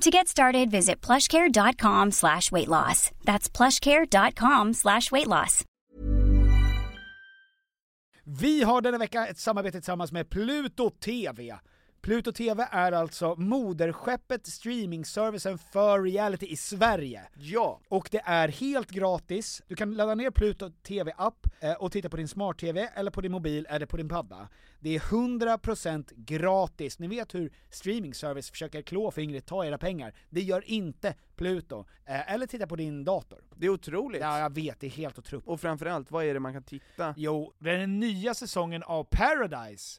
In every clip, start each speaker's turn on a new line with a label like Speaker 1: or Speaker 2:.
Speaker 1: To get started, visit plushcare.com slash weight loss. That's plushcare.com slash weight loss.
Speaker 2: Vi har denna vecka ett samarbete tillsammans med Pluto TV. Pluto TV är alltså moderskeppet streamingservicen för reality i Sverige.
Speaker 3: Ja!
Speaker 2: Och det är helt gratis, du kan ladda ner Pluto TV-app eh, och titta på din smart-TV, eller på din mobil, eller på din padda. Det är 100% gratis, ni vet hur streamingservice försöker klå fingret, ta era pengar. Det gör inte Pluto. Eh, eller titta på din dator.
Speaker 3: Det är otroligt.
Speaker 2: Ja, jag vet, det är helt otroligt.
Speaker 3: Och framförallt, vad är det man kan titta?
Speaker 2: Jo, den nya säsongen av Paradise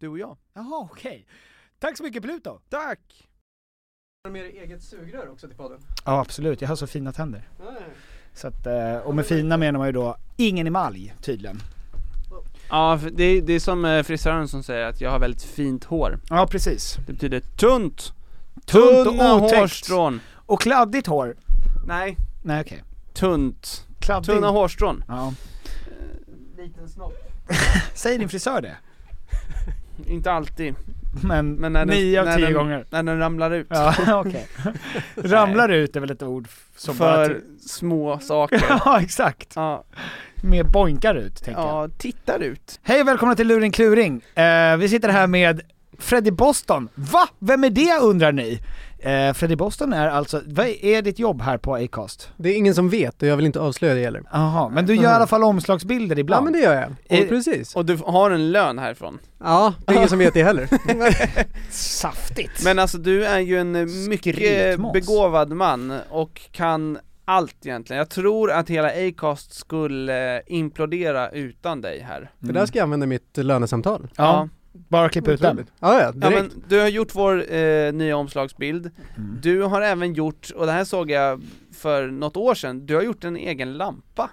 Speaker 3: Du och jag.
Speaker 2: Jaha, okej. Tack så mycket Pluto!
Speaker 3: Tack!
Speaker 4: Har du med dig eget sugrör också till podden?
Speaker 2: Ja absolut, jag har så fina tänder.
Speaker 4: Ja, ja.
Speaker 2: Så att, eh, och med fina menar man ju då ingen emalj tydligen.
Speaker 4: Ja, för det, är- det är som eh, frisören som säger att jag har väldigt fint hår.
Speaker 2: Ja precis.
Speaker 4: Det betyder tunt.
Speaker 2: Tunt och
Speaker 4: Tunna
Speaker 2: otäckt.
Speaker 4: hårstrån.
Speaker 2: Och kladdigt hår.
Speaker 4: Nej,
Speaker 2: Nej okej.
Speaker 4: tunt.
Speaker 2: Kladdigt.
Speaker 4: Tunna hårstrån.
Speaker 2: Ja.
Speaker 4: Liten snopp.
Speaker 2: Säger din frisör det?
Speaker 4: Inte alltid.
Speaker 2: Men,
Speaker 4: Men när den,
Speaker 2: nio av
Speaker 4: när
Speaker 2: tio
Speaker 4: den,
Speaker 2: gånger.
Speaker 4: När den ramlar ut.
Speaker 2: Ja okej. Ramlar ut är väl ett ord f- som bara...
Speaker 4: för
Speaker 2: till-
Speaker 4: små saker.
Speaker 2: ja exakt.
Speaker 4: ja,
Speaker 2: Mer boinkar ut tänker jag.
Speaker 4: ja, tittar ut.
Speaker 2: Hej och välkomna till Luring Kluring! Eh, vi sitter här med Freddie Boston. Va? Vem är det undrar ni? Eh, Freddie Boston är alltså, vad är ditt jobb här på Acast?
Speaker 5: Det är ingen som vet och jag vill inte avslöja det heller.
Speaker 2: Jaha, men du gör i alla fall omslagsbilder
Speaker 5: Ja
Speaker 2: ibland?
Speaker 5: men det gör jag.
Speaker 2: Eh,
Speaker 5: Och precis.
Speaker 4: Och du har en lön härifrån.
Speaker 5: Ja, det är ingen som vet det heller.
Speaker 2: Saftigt!
Speaker 4: Men alltså du är ju en eh, mycket
Speaker 2: Skrytmåns.
Speaker 4: begåvad man och kan allt egentligen. Jag tror att hela Acast skulle eh, implodera utan dig här.
Speaker 5: Det där ska jag använda i mitt lönesamtal.
Speaker 2: Ja, bara klipp ut den.
Speaker 5: Otroligt. Ja, ja,
Speaker 4: Ja,
Speaker 5: direkt.
Speaker 4: men du har gjort vår eh, nya omslagsbild, du har även gjort, och det här såg jag för något år sedan, du har gjort en egen lampa.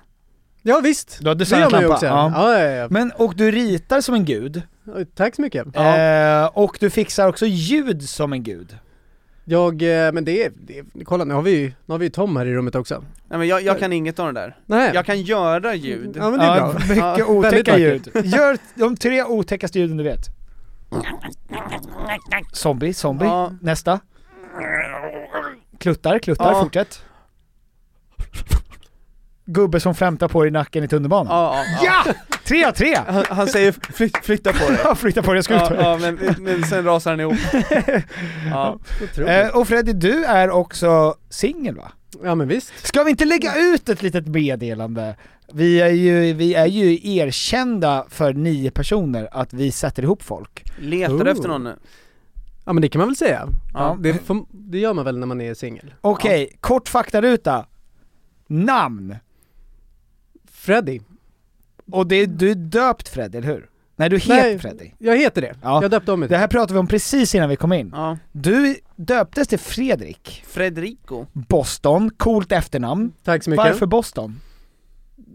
Speaker 5: ja visst.
Speaker 2: Du har
Speaker 5: Det gör
Speaker 2: designat
Speaker 5: man ju
Speaker 2: lampa.
Speaker 5: också. Ja. Ja, ja,
Speaker 2: Men, och du ritar som en gud,
Speaker 5: ja. Tack så mycket.
Speaker 2: eh, och du fixar också ljud som en gud.
Speaker 5: Jag, eh, men det är, det är, kolla nu har vi ju, nu har vi ju Tom här i rummet också.
Speaker 4: Nej men jag, jag kan inget av det där.
Speaker 5: Nej.
Speaker 4: Jag kan göra ljud.
Speaker 5: Ja men det är
Speaker 2: Ja,
Speaker 5: bra.
Speaker 2: Mycket
Speaker 4: Ja,
Speaker 5: väldigt
Speaker 2: otäcka ljud.
Speaker 5: vackert.
Speaker 2: Gör de tre otäckaste ljuden du vet. Zombie, zombie.
Speaker 4: Ja.
Speaker 2: Nästa. Kluttar, kluttar,
Speaker 4: Ja.
Speaker 2: fortsätt. Gubbe som flämtar på dig i nacken i tunnelbanan.
Speaker 4: Ja, ja, ja.
Speaker 2: Ja! Tre av tre!
Speaker 4: Han, han säger flyt, flytta på dig.
Speaker 2: Jag flyttar på dig, jag ska ut
Speaker 4: Ja,
Speaker 2: med
Speaker 4: ja men, men sen rasar han ihop. Ja.
Speaker 2: dig. Eh, Och Freddy, du är också singel va?
Speaker 5: Ja men visst.
Speaker 2: Ska vi inte lägga ut ett litet meddelande? Vi är ju, vi är ju erkända för nio personer att vi sätter ihop folk.
Speaker 4: Letar
Speaker 5: Ooh.
Speaker 4: efter någon nu.
Speaker 5: Ja men det kan man väl säga.
Speaker 4: Ja.
Speaker 5: Det, får, det gör man väl när man är singel.
Speaker 2: Okej, kort faktaruta. Namn.
Speaker 5: Freddy.
Speaker 2: Och det, du är döpt Fred, eller hur? Nej, du heter
Speaker 5: Nej.
Speaker 2: Freddy.
Speaker 5: Jag heter det.
Speaker 2: Ja.
Speaker 5: Jag döpte om mig
Speaker 2: Det
Speaker 5: till
Speaker 2: här pratade vi om precis innan vi kom in.
Speaker 4: Ja.
Speaker 2: Du döptes till Fredrik.
Speaker 4: Fredrico.
Speaker 2: Boston, coolt efternamn.
Speaker 5: Tack så mycket.
Speaker 2: Varför Boston?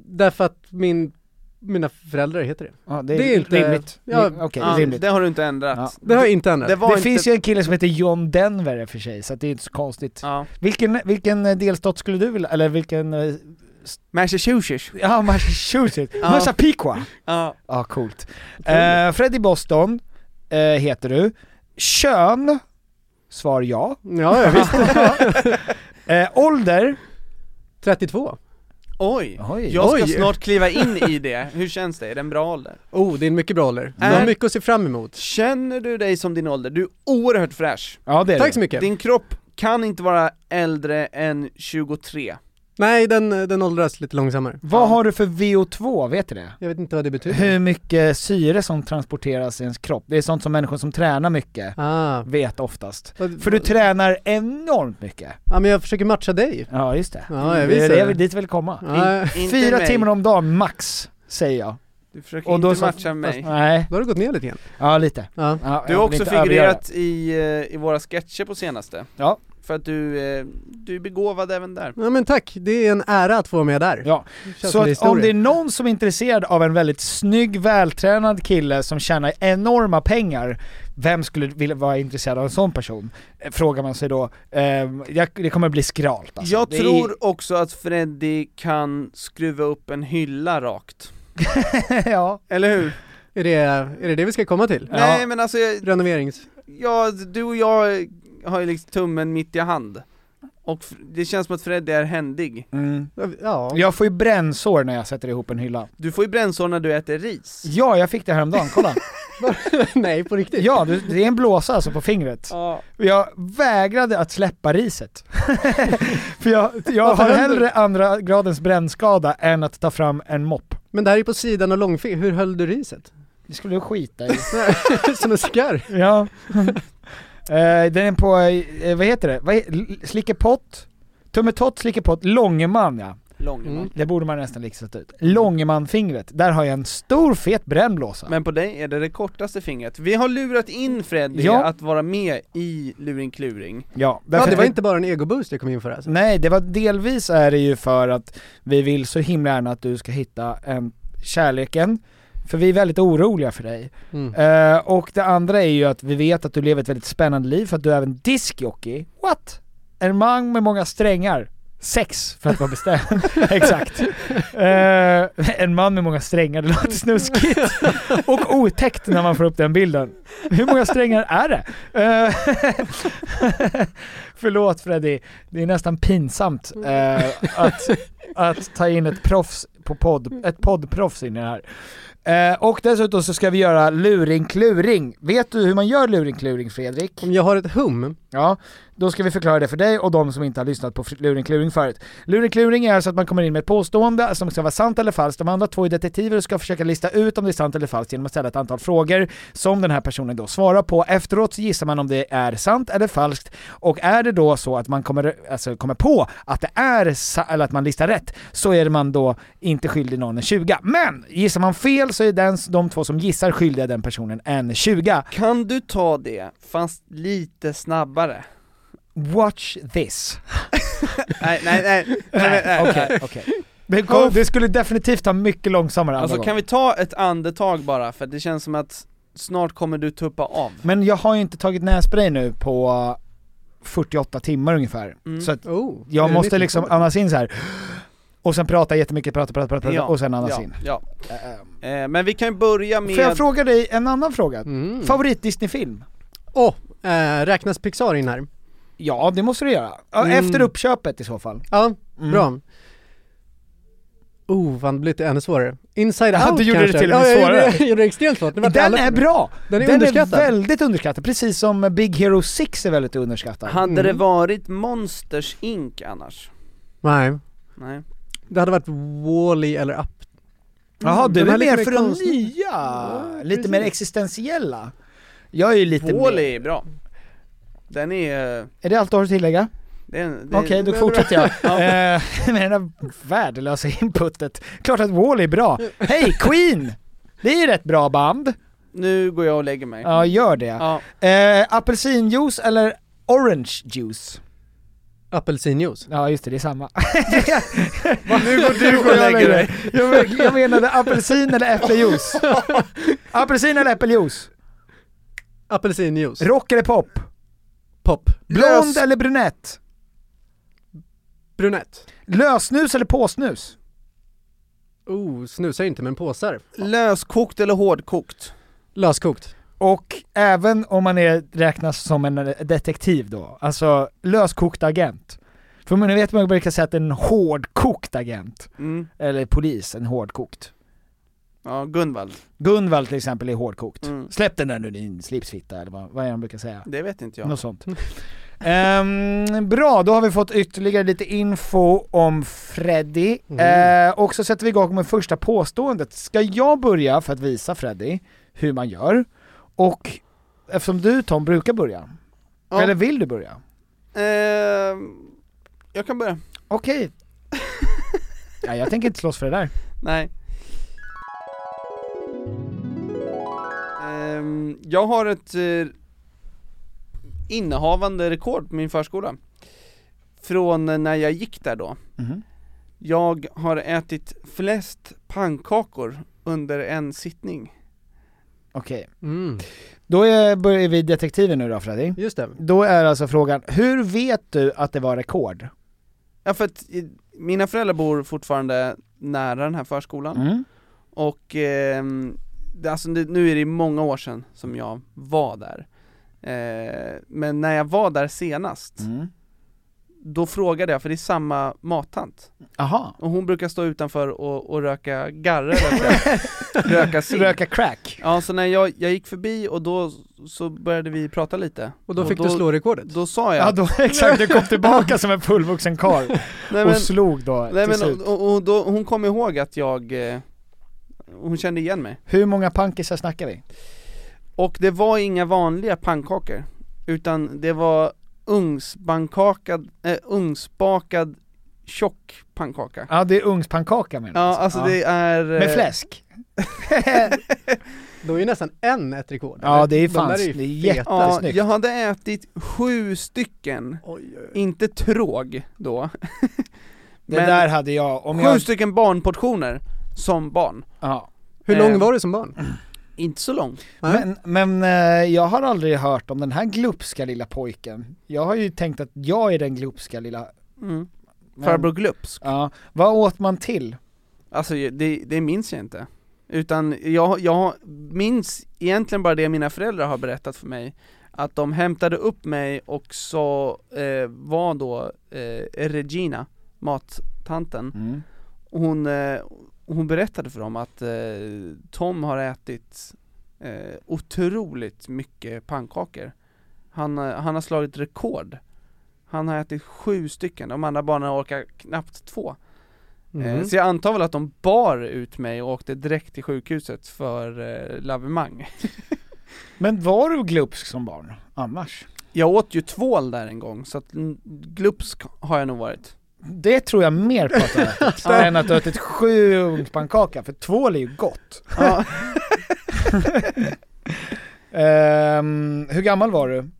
Speaker 5: Därför att min, mina föräldrar heter det.
Speaker 2: Ja,
Speaker 5: Det är inte-
Speaker 2: rimligt.
Speaker 5: Ja,
Speaker 2: Okej,
Speaker 4: Ja,
Speaker 2: rimligt.
Speaker 4: det har du inte ändrat.
Speaker 2: Ja.
Speaker 5: Det har jag inte ändrat.
Speaker 4: Det var
Speaker 2: det
Speaker 4: inte...
Speaker 2: finns ju en kille som heter John Denver i och för sig, så att det är inte så konstigt.
Speaker 4: Ja.
Speaker 2: Vilken, vilken eh, delstat skulle du vilja, eller vilken... eh,
Speaker 4: Massachusetts.
Speaker 2: Ja, Massachusetts.
Speaker 4: Ja.
Speaker 2: Massapequa.
Speaker 4: Ja.
Speaker 2: Ja, coolt. Eh, Freddy Boston eh, heter du. Kön, svar ja.
Speaker 5: Ja, jag visst.
Speaker 2: Eh, ålder,
Speaker 5: 32.
Speaker 4: Oj.
Speaker 2: Oj.
Speaker 4: Jag ska
Speaker 5: Oj.
Speaker 4: snart kliva in i det. Hur känns det? Är det en bra ålder?
Speaker 5: Oh, det är en mycket bra ålder. Du
Speaker 2: Eh.
Speaker 5: har
Speaker 4: Äh.
Speaker 5: mycket att se fram emot.
Speaker 4: Känner du dig som din ålder? Du är oerhört fräsch.
Speaker 2: ja det är
Speaker 5: Tack
Speaker 2: du.
Speaker 5: så mycket.
Speaker 4: Din kropp kan inte vara äldre än 23.
Speaker 5: Nej, den, den åldras lite långsammare.
Speaker 2: Vad har du för VO2, vet du det?
Speaker 5: Jag vet inte vad det betyder.
Speaker 2: Hur mycket syre som transporteras i ens kropp. Det är sånt som människor som tränar mycket
Speaker 5: ah.
Speaker 2: vet oftast.
Speaker 5: Vad-
Speaker 2: För du tränar enormt mycket.
Speaker 5: Ja, men jag försöker matcha dig.
Speaker 2: Ja, just det.
Speaker 5: Ja, jag
Speaker 2: det
Speaker 5: visst
Speaker 2: är
Speaker 5: är
Speaker 2: det
Speaker 5: det.
Speaker 2: vi- dit vill komma.
Speaker 5: Ja,
Speaker 4: In- inte
Speaker 2: Fyra
Speaker 4: mig.
Speaker 2: timmar om dagen max, säger jag.
Speaker 4: Du försöker inte
Speaker 2: så-
Speaker 4: matcha mig.
Speaker 2: Nej,
Speaker 5: då har du gått ner lite grann.
Speaker 2: ja lite.
Speaker 5: Ja.
Speaker 2: Ja,
Speaker 4: Du
Speaker 2: jag
Speaker 4: har
Speaker 2: vill
Speaker 4: också
Speaker 2: inte överdriva
Speaker 4: figurerat i, eh, i våra sketcher på senaste.
Speaker 2: det. Ja,
Speaker 4: För att du, eh, du är begåvad även där.
Speaker 5: ja, men tack. Det är en ära att få vara med där.
Speaker 2: ja.
Speaker 5: Det känns
Speaker 2: Så
Speaker 5: som en
Speaker 2: att om
Speaker 5: historia.
Speaker 2: det är någon som är intresserad av en väldigt snygg, vältränad kille som tjänar enorma pengar, vem skulle vilja vara intresserad av en sån person? Eh, Frågar man sig då. Eh, jag- det kommer bli skralt alltså.
Speaker 4: Jag
Speaker 2: det
Speaker 4: tror också att Freddy kan skruva upp en hylla rakt.
Speaker 2: Är, ja.
Speaker 4: Eller hur?
Speaker 5: Är, det, är det det vi ska komma till?
Speaker 4: Nej men alltså, jag,
Speaker 5: Renoverings...
Speaker 4: jag, du och jag har ju liksom tummen mitt i hand. Och f- det känns som att Freddy är händig.
Speaker 2: Mm.
Speaker 5: Ja.
Speaker 2: Jag får ju brännsår när jag sätter ihop en hylla.
Speaker 4: Du får ju brännsår när du äter ris.
Speaker 2: Ja, jag fick det häromdagen, kolla.
Speaker 5: Nej, på riktigt.
Speaker 2: Ja, du- det är en blåsa alltså på fingret.
Speaker 4: Ja.
Speaker 2: Jag vägrade att släppa riset. För jag, jag
Speaker 5: Varför
Speaker 2: har
Speaker 5: händer?
Speaker 2: hellre andra gradens brännskada än att ta fram en mopp.
Speaker 5: Men det här är på sidan av långfilm. Hur höll du riset?
Speaker 2: Det skulle du skita i.
Speaker 5: Som en skarv.
Speaker 2: ja. Eh, den är på, eh, vad heter det? Vad he- l- Slickepott? Tummetott, slickepott, långeman ja.
Speaker 4: Långman.
Speaker 5: Mm.
Speaker 2: Det borde man nästan likställt ut. Långemanfingret, där har jag en stor fet brännblåsa.
Speaker 4: Men på dig är det det kortaste fingret. Vi har lurat in Freddy
Speaker 2: Ja.
Speaker 4: att vara med i Luring Kluring.
Speaker 2: ja, därför
Speaker 5: Ja, det
Speaker 2: att
Speaker 5: var
Speaker 2: vi-
Speaker 5: inte bara en egoboost jag kom in för alltså.
Speaker 2: Nej, det var delvis är det ju för att vi vill så himla gärna att du ska hitta en kärleken, för vi är väldigt oroliga för dig.
Speaker 5: Mm.
Speaker 2: Eh, och det andra är ju att vi vet att du lever ett väldigt spännande liv för att du är även diskjockey. What? En man med många strängar. Sex, för att vara bestämd. Exakt. Eh, en man med många strängar, det låter snuskigt. Och otäckt när man får upp den bilden. Hur många strängar är det? Eh, Förlåt Freddy, det är nästan pinsamt eh, att, att ta in ett proffs på podd, ett poddproffs in i det här. Eh, och dessutom så ska vi göra luring kluring. Vet du hur man gör luring kluring Fredrik?
Speaker 5: Om jag har ett hum,
Speaker 2: Ja, då ska vi förklara det för dig och de som inte har lyssnat på fr- luring kluring förut. Luring kluring är alltså att man kommer in med ett påstående som ska vara sant eller falskt. De andra två är detektiver och ska försöka lista ut om det är sant eller falskt genom att ställa ett antal frågor som den här personen då svarar på. Efteråt så gissar man om det är sant eller falskt och är det då så att man kommer, alltså, kommer på att det är sa- eller att man listar rätt så är man då inte skyldig någon en 20. Men gissar man fel så är den, de två som gissar skyldiga den personen en 20.
Speaker 4: Kan du ta det, fast lite snabbare?
Speaker 2: Watch this.
Speaker 4: nej, nej, nej, nej, nej, nej.
Speaker 2: Okej, okej. Det, går- det skulle definitivt ta mycket långsammare andra
Speaker 4: Alltså kan
Speaker 2: gången.
Speaker 4: vi ta ett andetag bara, för det känns som att snart kommer du tuppa av.
Speaker 2: Men jag har ju inte tagit nässpray nu på 48 timmar ungefär.
Speaker 4: Mm.
Speaker 2: Så att
Speaker 5: oh, är
Speaker 2: jag
Speaker 5: det
Speaker 2: måste
Speaker 5: mitt
Speaker 2: liksom
Speaker 5: hum?
Speaker 2: andas in så här. och sen prata jättemycket, prata, prata, prata, prata och sen andas
Speaker 4: ja,
Speaker 2: in.
Speaker 4: ja. Eh, Men vi kan ju börja med...
Speaker 2: Får jag fråga dig en annan fråga?
Speaker 5: Mm.
Speaker 2: Favorit Disney-film?
Speaker 5: Åh, eh, räknas Pixar in här?
Speaker 2: Ja, det måste du göra. Ja,
Speaker 5: Mm.
Speaker 2: Efter uppköpet i så fall.
Speaker 5: Ja,
Speaker 2: Mm.
Speaker 5: bra. Oh, fan det blir lite ännu svårare. Inside
Speaker 2: Ja,
Speaker 5: Out
Speaker 2: du gjorde det
Speaker 5: kanske.
Speaker 2: till och med
Speaker 5: ja, jag
Speaker 2: svårare.
Speaker 5: Gjorde, jag gjorde det extremt svårt. Det var
Speaker 2: Den
Speaker 5: alla-
Speaker 2: är bra!
Speaker 5: Den är underskattad.
Speaker 2: väldigt underskattad, precis som Big Hero 6 är väldigt underskattad.
Speaker 4: Hade det varit Monsters Inc annars?
Speaker 5: Nej,
Speaker 4: Nej.
Speaker 5: det hade varit Wall-E eller Up.
Speaker 2: Jaha, du
Speaker 5: Den
Speaker 2: är mer
Speaker 5: här Mm. lite mer
Speaker 2: för de
Speaker 5: konstnär-
Speaker 2: nya, lite
Speaker 5: precis.
Speaker 2: mer existentiella. Jag är ju lite
Speaker 4: Wall-E
Speaker 2: mer...
Speaker 4: är bra. Den är... eh,
Speaker 2: Är det allt du har att tillägga?
Speaker 4: Det är en- det-
Speaker 2: Okej, då
Speaker 4: det-
Speaker 2: fortsätter jag.
Speaker 4: Ja.
Speaker 2: Eh, med det där värdelösa inputet. Klart att Wall är bra. Hej, Queen! Det är ju rätt bra band.
Speaker 4: Nu går jag och lägger mig.
Speaker 2: Ja, gör det.
Speaker 4: Ja.
Speaker 2: Eh, apelsinjuice eller orange juice?
Speaker 5: Apelsinjuice.
Speaker 2: Ja just det, det är samma.
Speaker 4: Nu går du och lägger dig.
Speaker 2: Jag, men- jag menade apelsin eller äppeljuice. Apelsin eller äppeljuice?
Speaker 5: Apelsinjuice.
Speaker 2: Rock eller pop?
Speaker 5: Pop.
Speaker 2: Blond
Speaker 5: Lös-
Speaker 2: eller brunett?
Speaker 5: Brunett.
Speaker 2: Lösnus eller påsnus?
Speaker 5: Oh, snusar inte men påsar.
Speaker 4: Löskokt eller hårdkokt?
Speaker 5: Löskokt.
Speaker 2: Och även om man är, räknas som en eh, detektiv då, alltså löskokt agent. För man vet man brukar säga att en hårdkokt agent,
Speaker 4: Mm.
Speaker 2: eller polis, en hårdkokt.
Speaker 4: Ja, Gunvald.
Speaker 2: Gunvald till exempel är hårdkokt.
Speaker 4: Mm.
Speaker 2: Släpp den där nu din slipsfitta eller vad, vad är det han brukar säga?
Speaker 4: Det vet inte jag.
Speaker 2: Något sånt. Ehm, bra, då har vi fått ytterligare lite info om Freddy.
Speaker 5: Mm.
Speaker 2: Eh, och så sätter vi igång med första påståendet. Ska jag börja för att visa Freddy hur man gör? Och eftersom du Tom brukar börja,
Speaker 4: Ja.
Speaker 2: eller vill du börja?
Speaker 4: Ehm, jag kan börja.
Speaker 2: Okej. ja, jag tänker inte slåss för det där.
Speaker 4: Nej. Ehm, jag har ett eh, innehavande rekord på min förskola. Från när jag gick där då.
Speaker 2: Mhm.
Speaker 4: Jag har ätit flest pannkakor under en sittning.
Speaker 2: Okej,
Speaker 5: Mm.
Speaker 2: då är, börjar vi detektiven nu då Freddy.
Speaker 5: Just det.
Speaker 2: Då är alltså frågan, hur vet du att det var rekord?
Speaker 4: Ja för att eh, mina föräldrar bor fortfarande nära den här förskolan.
Speaker 2: Mm.
Speaker 4: Och ehm, det, alltså, det, nu är det många år sedan som jag var där. Eh, men när jag var där senast,
Speaker 2: Mm.
Speaker 4: då frågade jag, för det är samma mattant.
Speaker 2: Aha.
Speaker 4: Och hon brukar stå utanför och, och röka garre, röka, röka cigg.
Speaker 2: Röka crack.
Speaker 4: Ja, så när jag, jag gick förbi och då så började vi prata lite.
Speaker 5: Och då fick du slå rekordet.
Speaker 4: Då sa jag,
Speaker 2: Ja då, exakt, du kom tillbaka som en fullvuxen karl
Speaker 4: nej men,
Speaker 2: och slog då
Speaker 4: nej,
Speaker 2: till
Speaker 4: men
Speaker 2: slut.
Speaker 4: och, och då, hon kom ihåg att jag, eh, hon kände igen mig.
Speaker 2: Hur många pankisar snackar vi?
Speaker 4: Och det var inga vanliga pannkakor, utan det var ugnsbankakad, eh, ugnsbakad tjock pannkaka.
Speaker 2: Ja det är ugnspannkaka menar
Speaker 4: Ja, alltså det är... eh,
Speaker 2: Med fläsk?
Speaker 5: Då är ju nästan en ett rekord.
Speaker 2: Ja, det är
Speaker 5: De
Speaker 2: fan-
Speaker 5: där
Speaker 2: det är
Speaker 5: feta.
Speaker 2: jätte-
Speaker 4: Ja,
Speaker 2: snyggt.
Speaker 4: eh, jag hade ätit sju stycken,
Speaker 5: Oj, oj, oj.
Speaker 4: inte tråg då.
Speaker 2: Det
Speaker 4: Men
Speaker 2: där hade jag, om
Speaker 4: sju
Speaker 2: jag...
Speaker 4: stycken barnportioner som barn.
Speaker 2: Ja.
Speaker 5: Hur lång
Speaker 4: Eh,
Speaker 5: var du som barn?
Speaker 4: Inte så långt.
Speaker 5: Nej.
Speaker 2: Ehm, Men, men eh, jag har aldrig hört om den här glupska lilla pojken. Jag har ju tänkt att jag är den glupska lilla...
Speaker 4: Mm.
Speaker 2: men-
Speaker 4: Farbror Glupsk.
Speaker 2: Ja, vad åt man till?
Speaker 4: Alltså det, det minns jag inte. Utan jag, jag minns egentligen bara det mina föräldrar har berättat för mig. Att de hämtade upp mig och så eh, var då eh, Regina, mattanten,
Speaker 2: Mm.
Speaker 4: hon, eh, hon berättade för dem att eh, Tom har ätit eh, otroligt mycket pannkakor. Han, eh, han har slagit rekord. Han har ätit sju stycken, de andra barnen orkar knappt två. Eh,
Speaker 2: Mm.
Speaker 5: Mhm.
Speaker 4: Så jag antar väl att de bar ut mig och åkte direkt till sjukhuset för eh, lavemang.
Speaker 2: Men var du glupsk som barn annars?
Speaker 4: Jag åt ju tvål där en gång, så att mm, glupsk har jag nog varit.
Speaker 2: Det tror jag mer på att du har ätit, än att du har ätit sju ugnspannkaka, för tvål är ju gott.
Speaker 4: Ja,
Speaker 2: Ehm, hur gammal var du?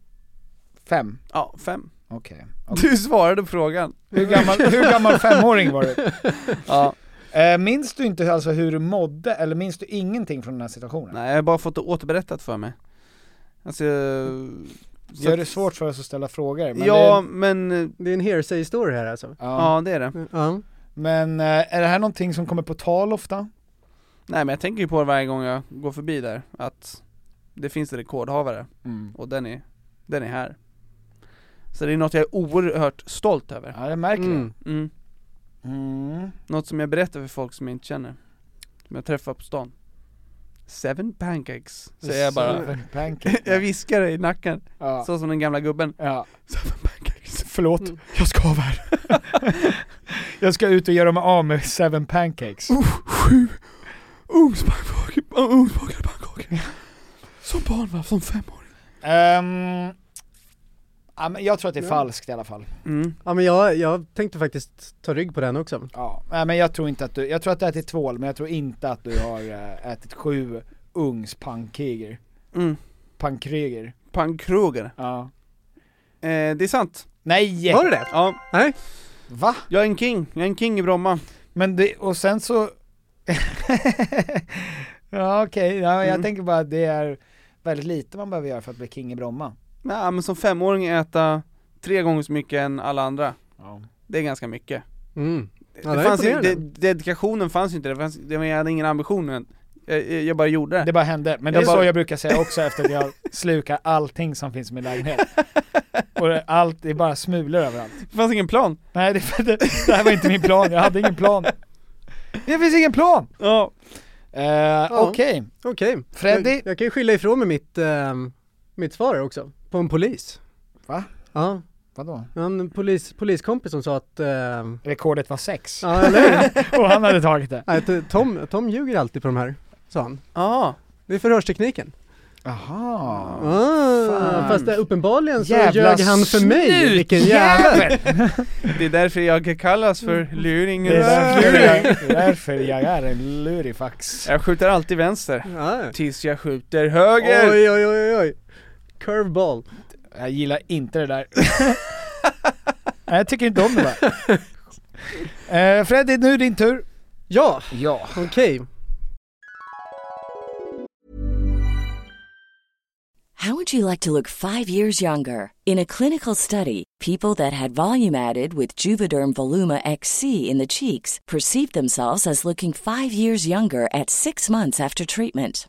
Speaker 2: Fem?
Speaker 4: ja fem.
Speaker 2: Okej.
Speaker 4: Du svarade på frågan.
Speaker 2: Hur, gammal, hur gammal femåring var du?
Speaker 4: Ja,
Speaker 2: Eh, minns du inte alltså hur du mådde, eller minns du ingenting från den här situationen?
Speaker 4: nej jag har bara fått det återberättat för mig. Alltså, så
Speaker 2: Gör
Speaker 4: att-
Speaker 2: det svårt för oss att ställa frågor? Men
Speaker 4: Ja,
Speaker 2: Det,
Speaker 4: men, eh,
Speaker 5: Det är en hearsay story här alltså.
Speaker 2: ja.
Speaker 4: ja det är det.
Speaker 5: Ja.
Speaker 2: Men eh, är det här någonting som kommer på tal ofta?
Speaker 4: Nej men jag tänker ju på det varje gång jag går förbi där, att det finns en rekordhavare och den är, den är här. Så det är något jag är oerhört stolt över.
Speaker 2: Ja, jag märker
Speaker 5: Mm.
Speaker 4: Mm.
Speaker 2: det. Mm.
Speaker 4: Något som jag berättar för folk som jag inte känner Som jag träffar på stan Seven pancakes, säger jag bara
Speaker 2: Pancake.
Speaker 4: Jag viskar det i nacken,
Speaker 2: Ja.
Speaker 4: så som den gamla gubben
Speaker 2: ja.
Speaker 4: Seven pancakes
Speaker 2: Förlåt, jag skaver. jag ska ut och göra mig av med seven pancakes.
Speaker 4: Sju ugnsbakade pannkakor Som barn va, som femåring
Speaker 2: Ehm, Ja, men jag tror att det är
Speaker 5: Ja.
Speaker 2: falskt i alla fall.
Speaker 4: Mm.
Speaker 5: Ja men jag, jag tänkte faktiskt ta rygg på den också.
Speaker 2: Ja, nej, men jag tror inte att du, jag tror att du ätit tvål men jag tror inte att du har eh, ätit sju ungs pankriger.
Speaker 4: Mm.
Speaker 2: Pankriger.
Speaker 4: Pankroger.
Speaker 2: Ja.
Speaker 4: Eh, det är sant.
Speaker 2: Nej!
Speaker 5: Var det det?
Speaker 4: Ja,
Speaker 5: Nej?
Speaker 2: Va?
Speaker 4: jag är en king. Jag är en king i Bromma.
Speaker 2: Men det, och sen så... ja okej, ja, jag
Speaker 4: Mm.
Speaker 2: tänker bara att det är väldigt lite man behöver göra för att bli king i Bromma.
Speaker 4: Nej, men som femåring äta tre gånger så mycket än alla andra.
Speaker 2: Ja.
Speaker 4: Det är ganska mycket.
Speaker 5: Mm. Ja, det
Speaker 4: det
Speaker 5: är
Speaker 4: fanns ju, det,
Speaker 5: imponerande.
Speaker 4: dedikationen fanns ju inte, det fanns, det, var- jag hade ingen ambition. men Jag, jag jag bara gjorde det.
Speaker 2: Det bara hände, men det
Speaker 4: Jag
Speaker 2: är så
Speaker 4: bara-
Speaker 2: jag brukar säga också efter att jag slukar allting som finns i min lägenhet. Och det- allt, det är bara smulor överallt.
Speaker 4: Det fanns ingen plan.
Speaker 2: Nej det, det, det här var inte min plan, jag hade ingen plan. Det finns ingen plan!
Speaker 4: Ja.
Speaker 2: Eh, Okej,
Speaker 5: Okej.
Speaker 2: Freddy?
Speaker 5: Jag, jag kan ju skylla ifrån mig mitt, ehm, mitt svar också. På en polis.
Speaker 2: Va?
Speaker 5: Ja,
Speaker 2: Vadå?
Speaker 5: jag har en polis, poliskompis som sa att, ehm,
Speaker 2: Rekordet var sex.
Speaker 5: ja eller hur?
Speaker 2: Och han hade tagit det.
Speaker 5: Nej, t- Tom, Tom ljuger alltid på de här, sa han.
Speaker 4: Ja.
Speaker 5: Det är förhörstekniken.
Speaker 2: Jaha.
Speaker 5: Ah,
Speaker 2: fan.
Speaker 5: fast det, uppenbarligen så ljög han för mig.
Speaker 2: snut,
Speaker 5: Vilken jävel!
Speaker 4: Det är därför jag kallas för luring.
Speaker 2: Det är därför jag, det är därför jag är en lurifax.
Speaker 4: Jag skjuter alltid vänster.
Speaker 5: Ja.
Speaker 4: Tills jag skjuter höger.
Speaker 5: Ah. Oj, oj, oj, oj. Curveball.
Speaker 2: Jag gillar inte det där. Nej, jag tycker inte om det där. Eh, Freddy, nu är din tur.
Speaker 5: Ja,
Speaker 2: Ja.
Speaker 5: okej.
Speaker 6: How would you like to look five years younger? In a clinical study, people that had volume added with Juvederm Voluma XC in the cheeks perceived themselves as looking five years younger at six months after treatment.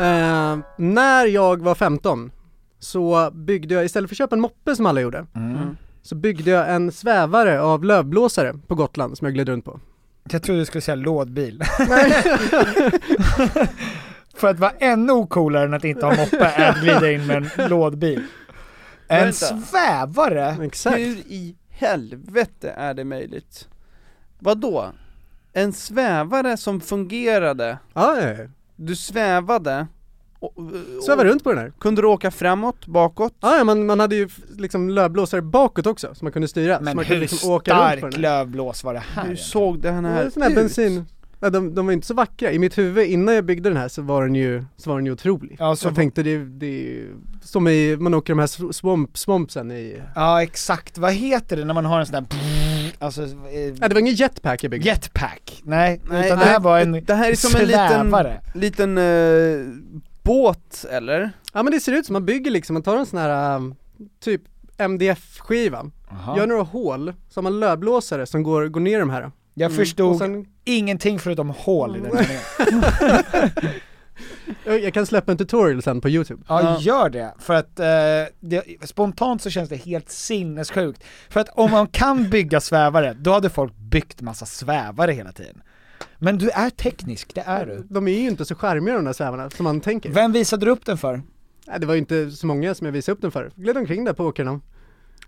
Speaker 5: Eh, när jag var 15 så byggde jag, istället för att köpa en moppe som alla gjorde,
Speaker 2: Mm.
Speaker 5: så byggde jag en svävare av lövblåsare på Gotland som jag gled runt på.
Speaker 2: Jag trodde du skulle säga lådbil. För att vara ännu ocoolare än att inte ha moppe är att glida in med en lådbil. En
Speaker 4: Vänta.
Speaker 2: svävare?
Speaker 5: Exakt.
Speaker 4: Hur i helvete är det möjligt? Vadå? En svävare som fungerade,
Speaker 5: Ja, ja, ja.
Speaker 4: du svävade och, och,
Speaker 5: Sväva runt på den här.
Speaker 4: kunde du åka framåt, bakåt?
Speaker 5: Ja, ja, man, man hade ju f- liksom lövblåsare bakåt också som man kunde styra. så
Speaker 2: Men
Speaker 5: man kunde liksom
Speaker 2: hur stark lövblås var det här?
Speaker 4: Hur
Speaker 2: egentligen?
Speaker 4: såg den
Speaker 5: Den
Speaker 4: här
Speaker 5: sån här
Speaker 4: ut?
Speaker 5: bensin. Ja, de, de var ju inte så vackra. I mitt huvud innan jag byggde den här så var den ju, så var den ju otrolig.
Speaker 2: Ja, så-
Speaker 5: jag tänkte det, det är ju som i, man åker de här sw- swamp, swampsen i
Speaker 2: Ja exakt, vad heter det när man har en sån där alltså, eh,
Speaker 5: Ja det var ingen jetpack jag byggde.
Speaker 2: jetpack? Nej,
Speaker 4: Nej,
Speaker 2: utan det här
Speaker 4: nej,
Speaker 2: var en
Speaker 4: Det här är som en liten,
Speaker 2: svävare.
Speaker 4: liten eh, båt eller?
Speaker 5: Ja men det ser ut som, man bygger liksom, man tar en sån här ähm, typ MDF-skiva,
Speaker 2: Jaha.
Speaker 5: gör några hål, så har man lövblåsare som går, går ner i de här.
Speaker 4: Mm.
Speaker 2: Jag
Speaker 5: Och
Speaker 2: förstod
Speaker 5: sen,
Speaker 2: ingenting förutom hål i den meningen.
Speaker 5: jag jag kan släppa en tutorial sen på youtube.
Speaker 2: Ja,
Speaker 4: Ja.
Speaker 2: gör det. För att eh, det, spontant så känns det helt sinnessjukt. För att om man kan bygga svävare, då hade folk byggt massa svävare hela tiden. Men du är teknisk, det är du.
Speaker 5: De är ju inte så charmiga de där svävarna som man tänker.
Speaker 2: Vem visade du upp den för?
Speaker 5: Nej, det var ju inte så många som jag visade upp den för. Gled omkring där på åkrarna.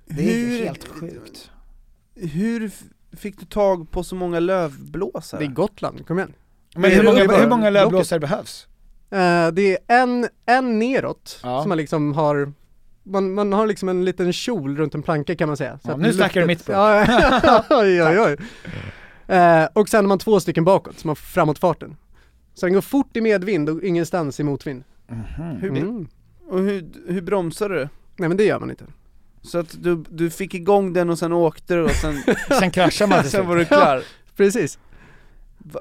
Speaker 2: Det är ju
Speaker 4: Hur-
Speaker 2: helt sjukt.
Speaker 4: Hur f- fick du tag på så många lövblåsare?
Speaker 5: Det är Gotland, kom igen.
Speaker 2: Men hur
Speaker 4: det
Speaker 2: många,
Speaker 4: bara
Speaker 2: hur många lövblåsare
Speaker 4: locket?
Speaker 2: behövs?
Speaker 5: Eh, det är en, en neråt
Speaker 2: Ja.
Speaker 5: som man liksom har man, man har liksom en liten kjol runt en planka kan man säga. Så
Speaker 2: Ja,
Speaker 5: att
Speaker 2: nu snackar du mitt språk.
Speaker 5: Ja, ja. oj, oj, oj. Eh, och sen har man två stycken bakåt, så man får framåtfarten. Så den går fort i medvind och ingenstans i motvind.
Speaker 4: Hur,
Speaker 5: Mm.
Speaker 4: Och hur, hur bromsade du?
Speaker 5: Nej men det gör man inte.
Speaker 4: Så att du, du fick igång den och sen åkte du och sen,
Speaker 2: Sen kraschar man till
Speaker 4: sen var
Speaker 2: slut.
Speaker 4: du klar?
Speaker 5: Precis.
Speaker 4: Va?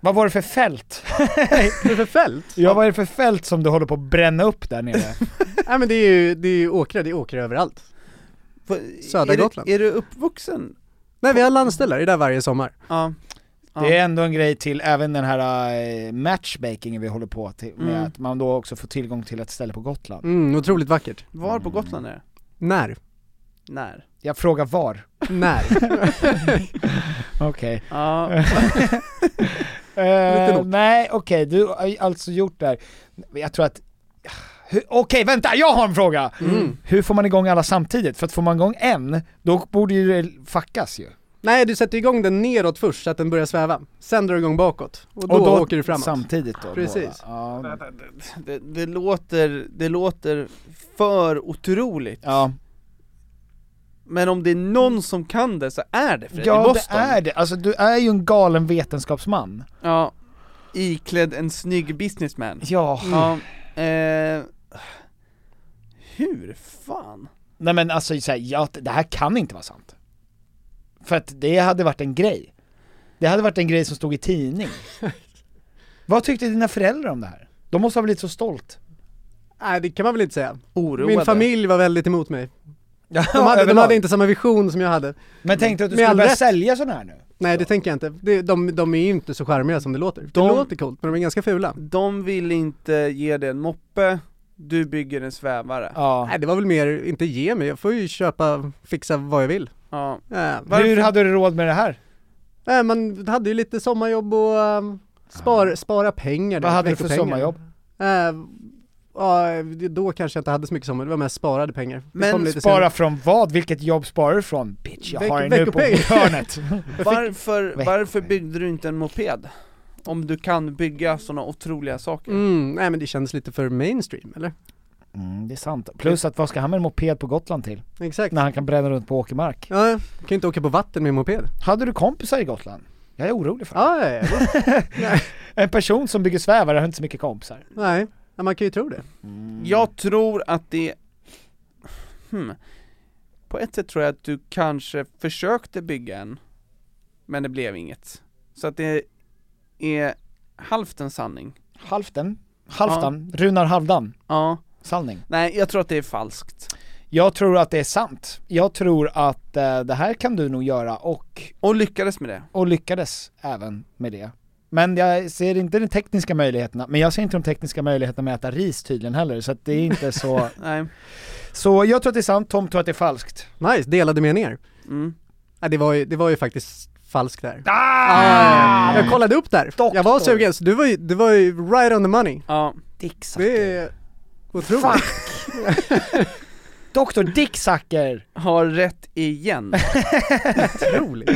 Speaker 2: Vad var det för fält?
Speaker 5: Vad är det för fält?
Speaker 2: Ja, vad är det för fält som du håller på att bränna upp där nere?
Speaker 5: Nej men det är ju, det är ju åkrar, det är åkrar överallt.
Speaker 4: Va?
Speaker 5: Södra
Speaker 4: är du-
Speaker 5: Gotland.
Speaker 4: Är du uppvuxen?
Speaker 5: Nej vi har landställare, det är där varje sommar.
Speaker 4: Ja.
Speaker 2: Det är ändå en grej till, även den här eh, matchmakingen vi håller på till, med
Speaker 4: Mm.
Speaker 2: att man då också får tillgång till ett ställe på Gotland.
Speaker 5: Mm, otroligt vackert.
Speaker 4: Var på Gotland är det?
Speaker 5: När?
Speaker 4: När?
Speaker 2: Jag frågar var.
Speaker 5: När?
Speaker 2: Okej.
Speaker 4: Ja,
Speaker 5: Lite nog.
Speaker 2: Eh, nej, okej, du har ju alltså gjort det här. Jag tror att... Hur- Okej, vänta, jag har en fråga!
Speaker 5: Mm.
Speaker 2: Hur får man igång alla samtidigt? För att får man igång en, då borde ju det fuckas ju.
Speaker 5: Nej du sätter igång den neråt först så att den börjar sväva. Sen drar du igång bakåt och då, åker du framåt.
Speaker 2: Samtidigt då.
Speaker 5: Precis.
Speaker 2: båda. Ja,
Speaker 4: det, det låter, det låter för otroligt.
Speaker 2: ja.
Speaker 4: Men om det är någon som kan det så är det Fredrik
Speaker 2: ja det
Speaker 4: Boston.
Speaker 2: är det. Alltså du är ju en galen vetenskapsman.
Speaker 4: Ja, iklädd en snygg businessman.
Speaker 2: Ja.
Speaker 4: Ja, eh, hur fan?
Speaker 2: Nej men alltså så här, ja, det här kan inte vara sant. För att det hade varit en grej. Det hade varit en grej som stod i tidning. Vad tyckte dina föräldrar om det här? De måste ha blivit så stolt.
Speaker 5: Nej det kan man väl inte säga.
Speaker 4: Oroade?
Speaker 5: Min familj var väldigt emot mig. De hade, de
Speaker 2: överlag.
Speaker 5: hade inte samma vision som jag hade.
Speaker 2: Men tänkte du att du
Speaker 5: Med
Speaker 2: skulle
Speaker 5: all
Speaker 2: börja
Speaker 5: rätt.
Speaker 2: sälja sådana här nu?
Speaker 5: Nej det tänker jag inte. De, de, de är ju inte så charmiga som det låter. Det
Speaker 4: De-
Speaker 5: låter coolt men de är ganska fula.
Speaker 4: De vill inte ge dig en moppe, du bygger en svävare.
Speaker 2: Ja.
Speaker 5: Nej det var väl mer, inte ge mig, jag får ju köpa, fixa vad jag vill.
Speaker 4: Ja.
Speaker 5: Äh,
Speaker 2: Hur hade du råd med det här?
Speaker 5: nej, man hade ju lite sommarjobb och ähm, spar, spara pengar.
Speaker 2: Vad hade du för
Speaker 5: veckopengar.
Speaker 2: sommarjobb?
Speaker 5: Äh, ja, då kanske jag inte hade så mycket sommar, det var mest sparade pengar. Det kom
Speaker 4: Men
Speaker 5: lite
Speaker 2: Spara från vad? Vilket jobb sparar du från? Bitch, jag
Speaker 5: Veck-
Speaker 2: har en nu på
Speaker 5: veckopeng.
Speaker 2: hörnet.
Speaker 4: Varför,
Speaker 2: Veck-
Speaker 4: varför byggde du inte en moped? Om du kan bygga sådana otroliga saker.
Speaker 5: Mm, nej men det kändes lite för mainstream eller?
Speaker 2: Mm, det är sant. Plus att vad ska han med en moped på Gotland till?
Speaker 5: Exakt.
Speaker 2: När han kan bränna runt på åkermark.
Speaker 5: Ja, jag kan ju inte åka på vatten med en moped.
Speaker 2: Hade du kompisar i Gotland? Jag är orolig för det.
Speaker 5: Ja, ja, ja.
Speaker 2: En person som bygger svävare har inte så mycket kompisar.
Speaker 5: nej, ja, man kan ju tro det.
Speaker 4: Jag tror att det... Hmm. På ett sätt tror jag att du kanske försökte bygga en, men det blev inget. Så att det är halvt en sanning.
Speaker 2: Halvten. Halvdan, Runar Halvdan,
Speaker 4: Ja.
Speaker 2: Salning.
Speaker 4: Nej, jag tror att det är falskt.
Speaker 2: Jag tror att det är sant. Jag tror att eh, det här kan du nog göra och,
Speaker 4: Och lyckades med det.
Speaker 2: och lyckades även med det. Men jag ser inte de tekniska möjligheterna, men jag ser inte de tekniska möjligheterna med att äta ris tydligen heller, så att det är inte så...
Speaker 4: Nej.
Speaker 2: så jag tror att det är sant, Tom tror att det är falskt.
Speaker 5: Nice, delade meningar.
Speaker 4: Mm.
Speaker 5: Nej, det, var ju, det var ju faktiskt falskt där.
Speaker 2: Ah!
Speaker 5: Jag kollade upp där.
Speaker 2: Doktor.
Speaker 5: Jag var sugen, så du var ju, du var ju right on the money.
Speaker 4: Ja.
Speaker 3: Dick Sucker.
Speaker 5: Det är otroligt.
Speaker 2: Doktor Dick Sacker!
Speaker 4: Har rätt igen.
Speaker 5: otroligt.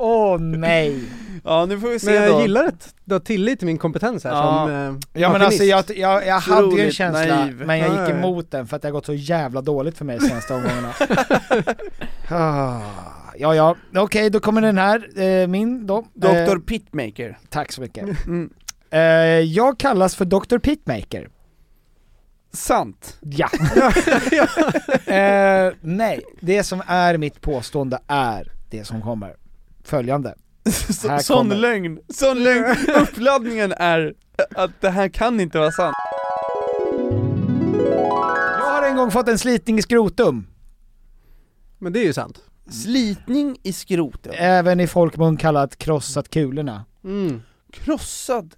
Speaker 2: Åh nej!
Speaker 4: ja, nu får vi
Speaker 5: Men
Speaker 4: se då.
Speaker 5: jag gillar att du har tillit till min kompetens här
Speaker 4: Ja.
Speaker 5: som eh,
Speaker 2: Ja men
Speaker 5: maskinist.
Speaker 2: alltså jag, jag, jag hade ju en
Speaker 4: Otroligt
Speaker 2: känsla,
Speaker 4: naiv.
Speaker 2: men jag gick
Speaker 5: Nej.
Speaker 2: emot den för att det har gått så jävla dåligt för mig de senaste omgångarna. Ah, ja ja, okej då kommer den här, eh, min då. Eh,
Speaker 4: Dr. Pitmaker.
Speaker 2: tack så mycket.
Speaker 4: Mm.
Speaker 2: Eh, jag kallas för Dr. Pitmaker.
Speaker 4: Sant.
Speaker 2: Ja. eh, nej, det som är mitt påstående är det som kommer. Följande. Här
Speaker 4: Så, sån
Speaker 2: kommer-
Speaker 4: lögn. Sån lögn. Uppladdningen är att det här kan inte vara sant.
Speaker 2: Jag har en gång fått en slitning i skrotum.
Speaker 5: Men det är ju sant.
Speaker 4: Slitning i skrotet.
Speaker 2: Även i folkmun kallat krossat kulorna.
Speaker 5: Mm.
Speaker 4: Krossad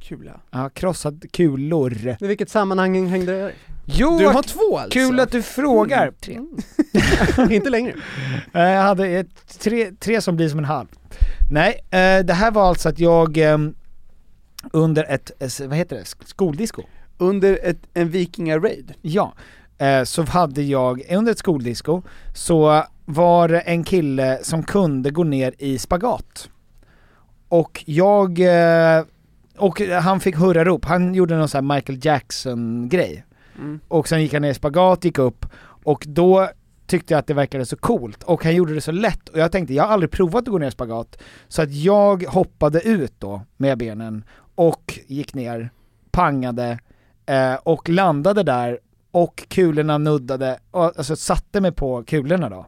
Speaker 4: kula.
Speaker 2: Ja, krossat kulor.
Speaker 5: I vilket sammanhang hängde det där?
Speaker 2: Jo,
Speaker 4: Du
Speaker 2: vad
Speaker 4: har två alltså?
Speaker 2: Kul att du frågar!
Speaker 5: Mm. Inte längre.
Speaker 2: Eh, Jag hade ett, tre, tre som blir som en halv. Nej, eh, det här var alltså att jag ehm, under ett, eh, vad heter det, Sk- skoldisco?
Speaker 4: Under ett, en vikingaraid.
Speaker 2: Ja. Eh, Så hade jag, under ett skoldisco, så var det en kille som kunde gå ner i spagat. Och jag, eh, och han fick hurrarop, han gjorde någon sån här Michael Jackson-grej.
Speaker 4: Mm.
Speaker 2: och sen gick han ner i spagat, gick upp och då tyckte jag att det verkade så coolt och han gjorde det så lätt och jag tänkte jag har aldrig provat att gå ner i spagat så att jag hoppade ut då med benen och gick ner, pangade eh, och landade där och kulorna nuddade, och, alltså satte mig på kulorna då.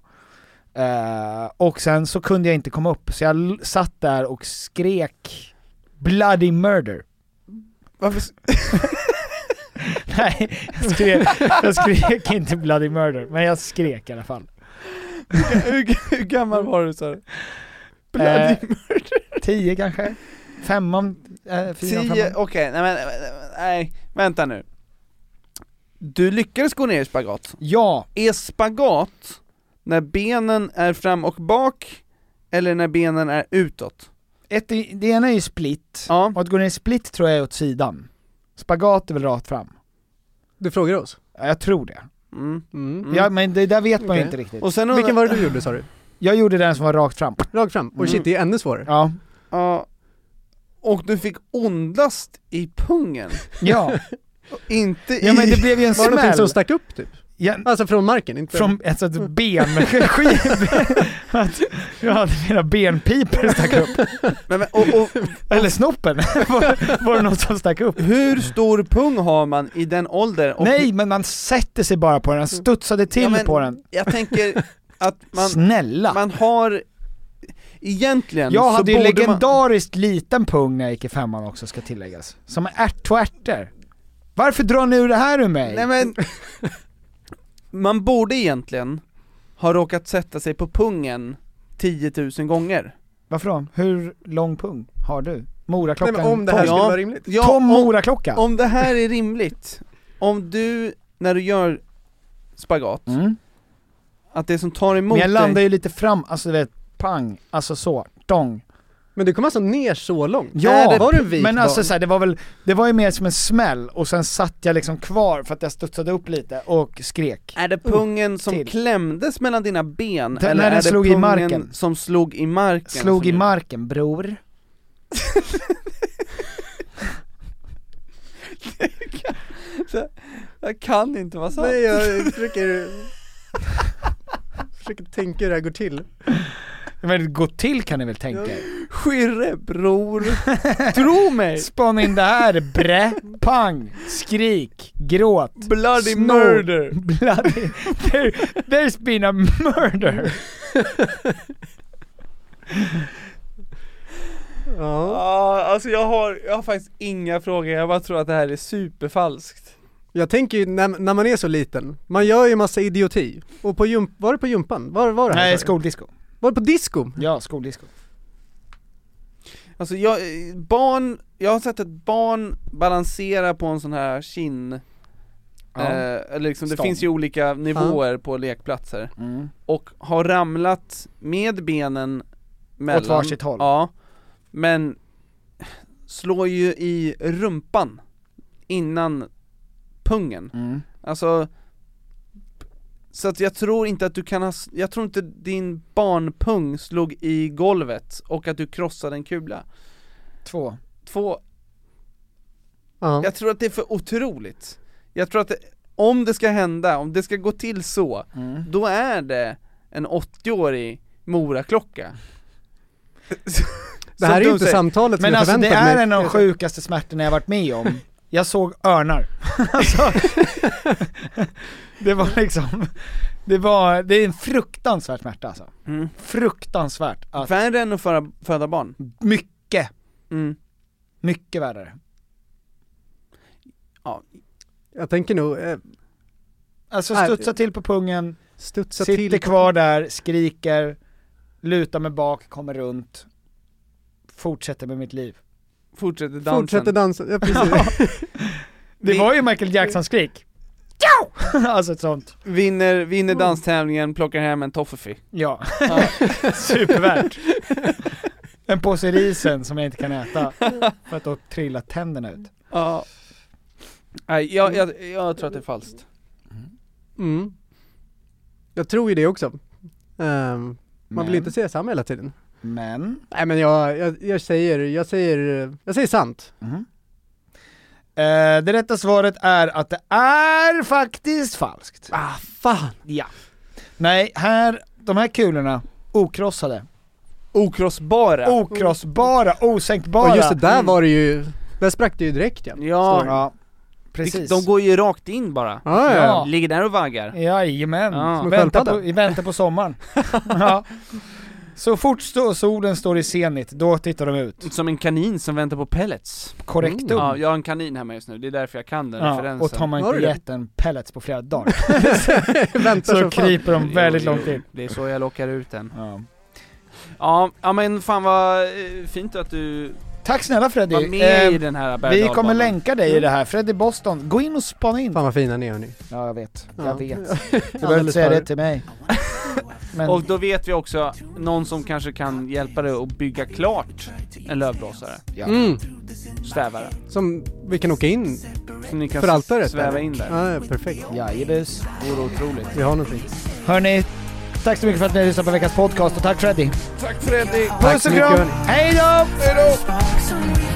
Speaker 2: Eh, och sen så kunde jag inte komma upp så jag l- satt där och skrek bloody murder.
Speaker 4: Varför, s-
Speaker 2: Nej, jag skrek, jag skrek inte bloody murder, men jag skrek i alla fall.
Speaker 4: hur, hur gammal var du sa du? Bloody
Speaker 2: Eh,
Speaker 4: murder.
Speaker 2: Tio kanske? Femman? Eh, fyran,
Speaker 4: Tio, okej,
Speaker 2: femman?
Speaker 4: nej men, nej, nej, vänta nu. Du lyckades gå ner i spagat.
Speaker 2: Ja,
Speaker 4: Är spagat när benen är fram och bak, eller när benen är utåt?
Speaker 2: ett, i- det ena är ju split,
Speaker 4: Ja.
Speaker 2: och att gå ner i split tror jag är åt sidan. Spagat är väl rakt fram?
Speaker 5: Du frågar oss?
Speaker 2: Ja, jag tror det.
Speaker 4: Mm.
Speaker 5: Mm.
Speaker 2: Ja, men det där vet man ju
Speaker 5: Okej.
Speaker 2: inte riktigt.
Speaker 4: Och sen undrar-
Speaker 5: Vilken var det du gjorde sa du?
Speaker 2: Jag gjorde den som var rakt fram.
Speaker 5: Rakt fram? Och shit, det är ännu svårare.
Speaker 2: Mm. Ja.
Speaker 4: Ja. Och du fick ondast i pungen,
Speaker 2: Ja,
Speaker 4: inte i...
Speaker 2: ja men det blev ju en
Speaker 5: Var det någonting
Speaker 2: smäll.
Speaker 5: som stack upp typ?
Speaker 2: Ja,
Speaker 5: Alltså från marken? Inte
Speaker 2: från, alltså ett ben, skiv. Att jag hade mina benpipor stack upp.
Speaker 4: Nej, men, och, och,
Speaker 2: Eller snoppen. Var, var det något som stack upp?
Speaker 4: hur stor pung har man i den åldern? Och
Speaker 2: Nej, men man sätter sig bara på den, han studsade till
Speaker 4: Ja, men
Speaker 2: på den.
Speaker 4: Jag tänker att man,
Speaker 2: Snälla!
Speaker 4: man har, egentligen
Speaker 2: jag
Speaker 4: så
Speaker 2: hade ju
Speaker 4: borde man...
Speaker 2: legendariskt liten pung när jag gick i femman också, ska tilläggas. Som ärt och ärtor. Varför drar ni ur det här ur mig?
Speaker 4: Nej men, man borde egentligen ha råkat sätta sig på pungen 10 000 gånger.
Speaker 2: Varför då? Hur lång pung har du?
Speaker 5: Nej
Speaker 2: Moraklockan?
Speaker 5: men om det
Speaker 2: Tom,
Speaker 5: här skulle
Speaker 4: Ja.
Speaker 5: vara rimligt.
Speaker 4: Ja,
Speaker 2: Tom
Speaker 4: om,
Speaker 2: Moraklocka!
Speaker 4: om det här är rimligt, om du, när du gör spagat,
Speaker 2: Mm.
Speaker 4: att det som tar emot
Speaker 2: Men jag landar
Speaker 4: dig,
Speaker 2: ju lite fram, alltså du vet, pang, alltså så, dong.
Speaker 5: Men du kom alltså ner så långt?
Speaker 2: Ja,
Speaker 5: Är det, var du en vit
Speaker 2: men alltså
Speaker 5: barn?
Speaker 2: så här, det var väl, det var ju mer som en smäll och sen satt jag liksom kvar för att jag studsade upp lite och skrek.
Speaker 4: är det pungen som
Speaker 2: till.
Speaker 4: klämdes mellan dina ben,
Speaker 2: Den-
Speaker 4: eller
Speaker 2: när
Speaker 4: är
Speaker 2: den
Speaker 4: det
Speaker 2: slog i
Speaker 4: pungen
Speaker 2: marken.
Speaker 4: som slog i marken?
Speaker 2: Slog
Speaker 4: som
Speaker 2: i
Speaker 4: gjorde-
Speaker 2: marken bror.
Speaker 4: Det kan inte vara sant.
Speaker 5: Nej jag försöker... försöker tänka hur det här går till.
Speaker 2: Men gå till kan ni väl tänka er?
Speaker 4: Skirre bror, tro mig!
Speaker 2: Spana in det här, brä, pang, skrik, gråt,
Speaker 4: Bloody
Speaker 2: snor,
Speaker 4: murder!
Speaker 2: bloody, there, there's been a murder!
Speaker 5: Ja.
Speaker 4: Ja, Alltså jag har, jag har faktiskt inga frågor, jag bara tror att det här är superfalskt
Speaker 5: Jag tänker ju när, när man är så liten, man gör ju massa idioti. Och på jump, var det på jumpan? Var, var det här?
Speaker 2: Nej,
Speaker 5: sa du?
Speaker 2: skoldisco.
Speaker 5: Var det på disco?
Speaker 2: Ja, skoldisco.
Speaker 4: Alltså jag, barn, jag har sett ett barn balansera på en sån här kinn
Speaker 2: Ja.
Speaker 4: eh, Eller liksom, det
Speaker 2: Stång.
Speaker 4: finns ju olika nivåer på lekplatser
Speaker 2: Mm.
Speaker 4: Och har ramlat med benen mellan
Speaker 2: Åt varsitt håll.
Speaker 4: Ja, men slår ju i rumpan innan pungen
Speaker 2: Mm.
Speaker 4: Alltså Så att jag tror inte att du kan ha, s- jag tror inte din barnpung slog i golvet och att du krossade en kula
Speaker 2: Två.
Speaker 4: Två,
Speaker 5: Ja.
Speaker 4: jag tror att det är för otroligt Jag tror att det, om det ska hända, om det ska gå till så,
Speaker 2: Mm.
Speaker 4: då är det en 80-årig Moraklocka
Speaker 5: Det
Speaker 4: Som
Speaker 5: här är ju
Speaker 4: du
Speaker 5: inte
Speaker 4: säger.
Speaker 5: samtalet som
Speaker 2: Men
Speaker 5: jag
Speaker 2: alltså det
Speaker 5: förväntade mig.
Speaker 2: är en av de sjukaste smärtorna jag varit med om. Jag såg örnar. alltså, det var liksom, det var, det är en fruktansvärd smärta alltså.
Speaker 4: Mm.
Speaker 2: Fruktansvärt. Att
Speaker 4: Värre än att föda, föda barn
Speaker 2: mycket,
Speaker 4: mm.
Speaker 2: mycket värre.
Speaker 5: Jag tänker nog, eh,
Speaker 2: Alltså
Speaker 5: Nej.
Speaker 2: studsa till på pungen,
Speaker 5: studsa
Speaker 2: sitter
Speaker 5: till.
Speaker 2: kvar där, skriker, lutar mig bak, kommer runt, fortsätter med mitt liv.
Speaker 4: Fortsätter dansen
Speaker 5: Fortsätter dansa, ja precis.
Speaker 2: Det
Speaker 4: Vi-
Speaker 2: var ju Michael Jackson-skrik. Ciao! alltså ett sånt.
Speaker 4: Vinner, vinner
Speaker 2: Mm.
Speaker 4: danstävlingen, plockar hem en toffefee
Speaker 2: Ja, supervärt. En påse risen som jag inte kan äta för att då trillar tänderna ut.
Speaker 4: Ja Nej, jag, jag,
Speaker 2: Mm.
Speaker 4: jag tror att det är falskt
Speaker 5: mm. Jag tror ju det också. Ehm, man vill
Speaker 2: Men-
Speaker 5: inte se Sam hela tiden.
Speaker 2: Men,
Speaker 5: Nej men jag, jag, jag säger, jag säger, jag säger sant.
Speaker 2: eh, det rätta svaret är att det är faktiskt falskt.
Speaker 5: Ah fan!
Speaker 2: Ja. Nej, här, de här kulorna, okrossade,
Speaker 4: Okrossbara!
Speaker 2: Oh, okrossbara, osänkbara.
Speaker 5: Och just det där var det ju, där sprack det ju direkt ja.
Speaker 4: Ja,
Speaker 2: Ja,
Speaker 4: de,
Speaker 2: precis.
Speaker 4: de går ju rakt in bara
Speaker 5: Ah, ja.
Speaker 2: Ja.
Speaker 4: Ligger där och vaggar
Speaker 2: Jajamän,
Speaker 4: Ja. Som
Speaker 5: en
Speaker 2: vänta,
Speaker 5: sköldpadda.
Speaker 2: på, i väntan på sommaren. ja. Så fort stå, solen står i zenit, då tittar de ut.
Speaker 4: Som en kanin som väntar på pellets
Speaker 2: Korrektum.
Speaker 4: Mm. Ja, jag har en kanin hemma just nu, det är därför jag kan den
Speaker 2: Ja,
Speaker 4: referensen
Speaker 2: och tar man
Speaker 5: Har
Speaker 2: inte
Speaker 5: du det?
Speaker 2: gett en pellets på flera dagar
Speaker 5: Väntar
Speaker 2: så
Speaker 5: som fan.
Speaker 2: kryper de väldigt
Speaker 4: Jo, jo,
Speaker 2: långt in.
Speaker 4: Det är så jag lockar ut den
Speaker 2: Ja.
Speaker 4: Ja, ja men fan vad eh, fint att du
Speaker 2: Tack snälla Freddy.
Speaker 4: var med i
Speaker 2: Eh,
Speaker 4: den här berg-
Speaker 2: vi kommer
Speaker 4: dalbanan.
Speaker 2: länka dig i det här. Freddy Boston, gå in och spana in.
Speaker 5: Fan vad fina ni är hörni.
Speaker 2: Ja jag vet,
Speaker 5: Ja.
Speaker 2: jag vet. Du behöver inte
Speaker 5: Alldeles
Speaker 2: säga
Speaker 5: för-
Speaker 2: det till mig. Men,
Speaker 4: Och då vet vi också någon som kanske kan hjälpa dig att bygga klart en lövblåsare,
Speaker 2: ja.
Speaker 5: Mm,
Speaker 4: stävare
Speaker 5: som vi kan åka in.
Speaker 4: Som ni kan
Speaker 5: För altaret,
Speaker 4: sväva
Speaker 5: eller?
Speaker 4: in där
Speaker 5: Ja, ja, perfekt.
Speaker 2: Jajebus.
Speaker 4: vore otroligt
Speaker 5: Vi har någonting.
Speaker 2: Hörni, tack så mycket för att ni lyssnade på veckans podcast och tack Freddy.
Speaker 4: Tack Freddy!
Speaker 5: Tack
Speaker 2: Puss
Speaker 5: så
Speaker 2: och
Speaker 5: mycket,
Speaker 2: kram,
Speaker 5: hörni.
Speaker 2: hejdå! Hejdå!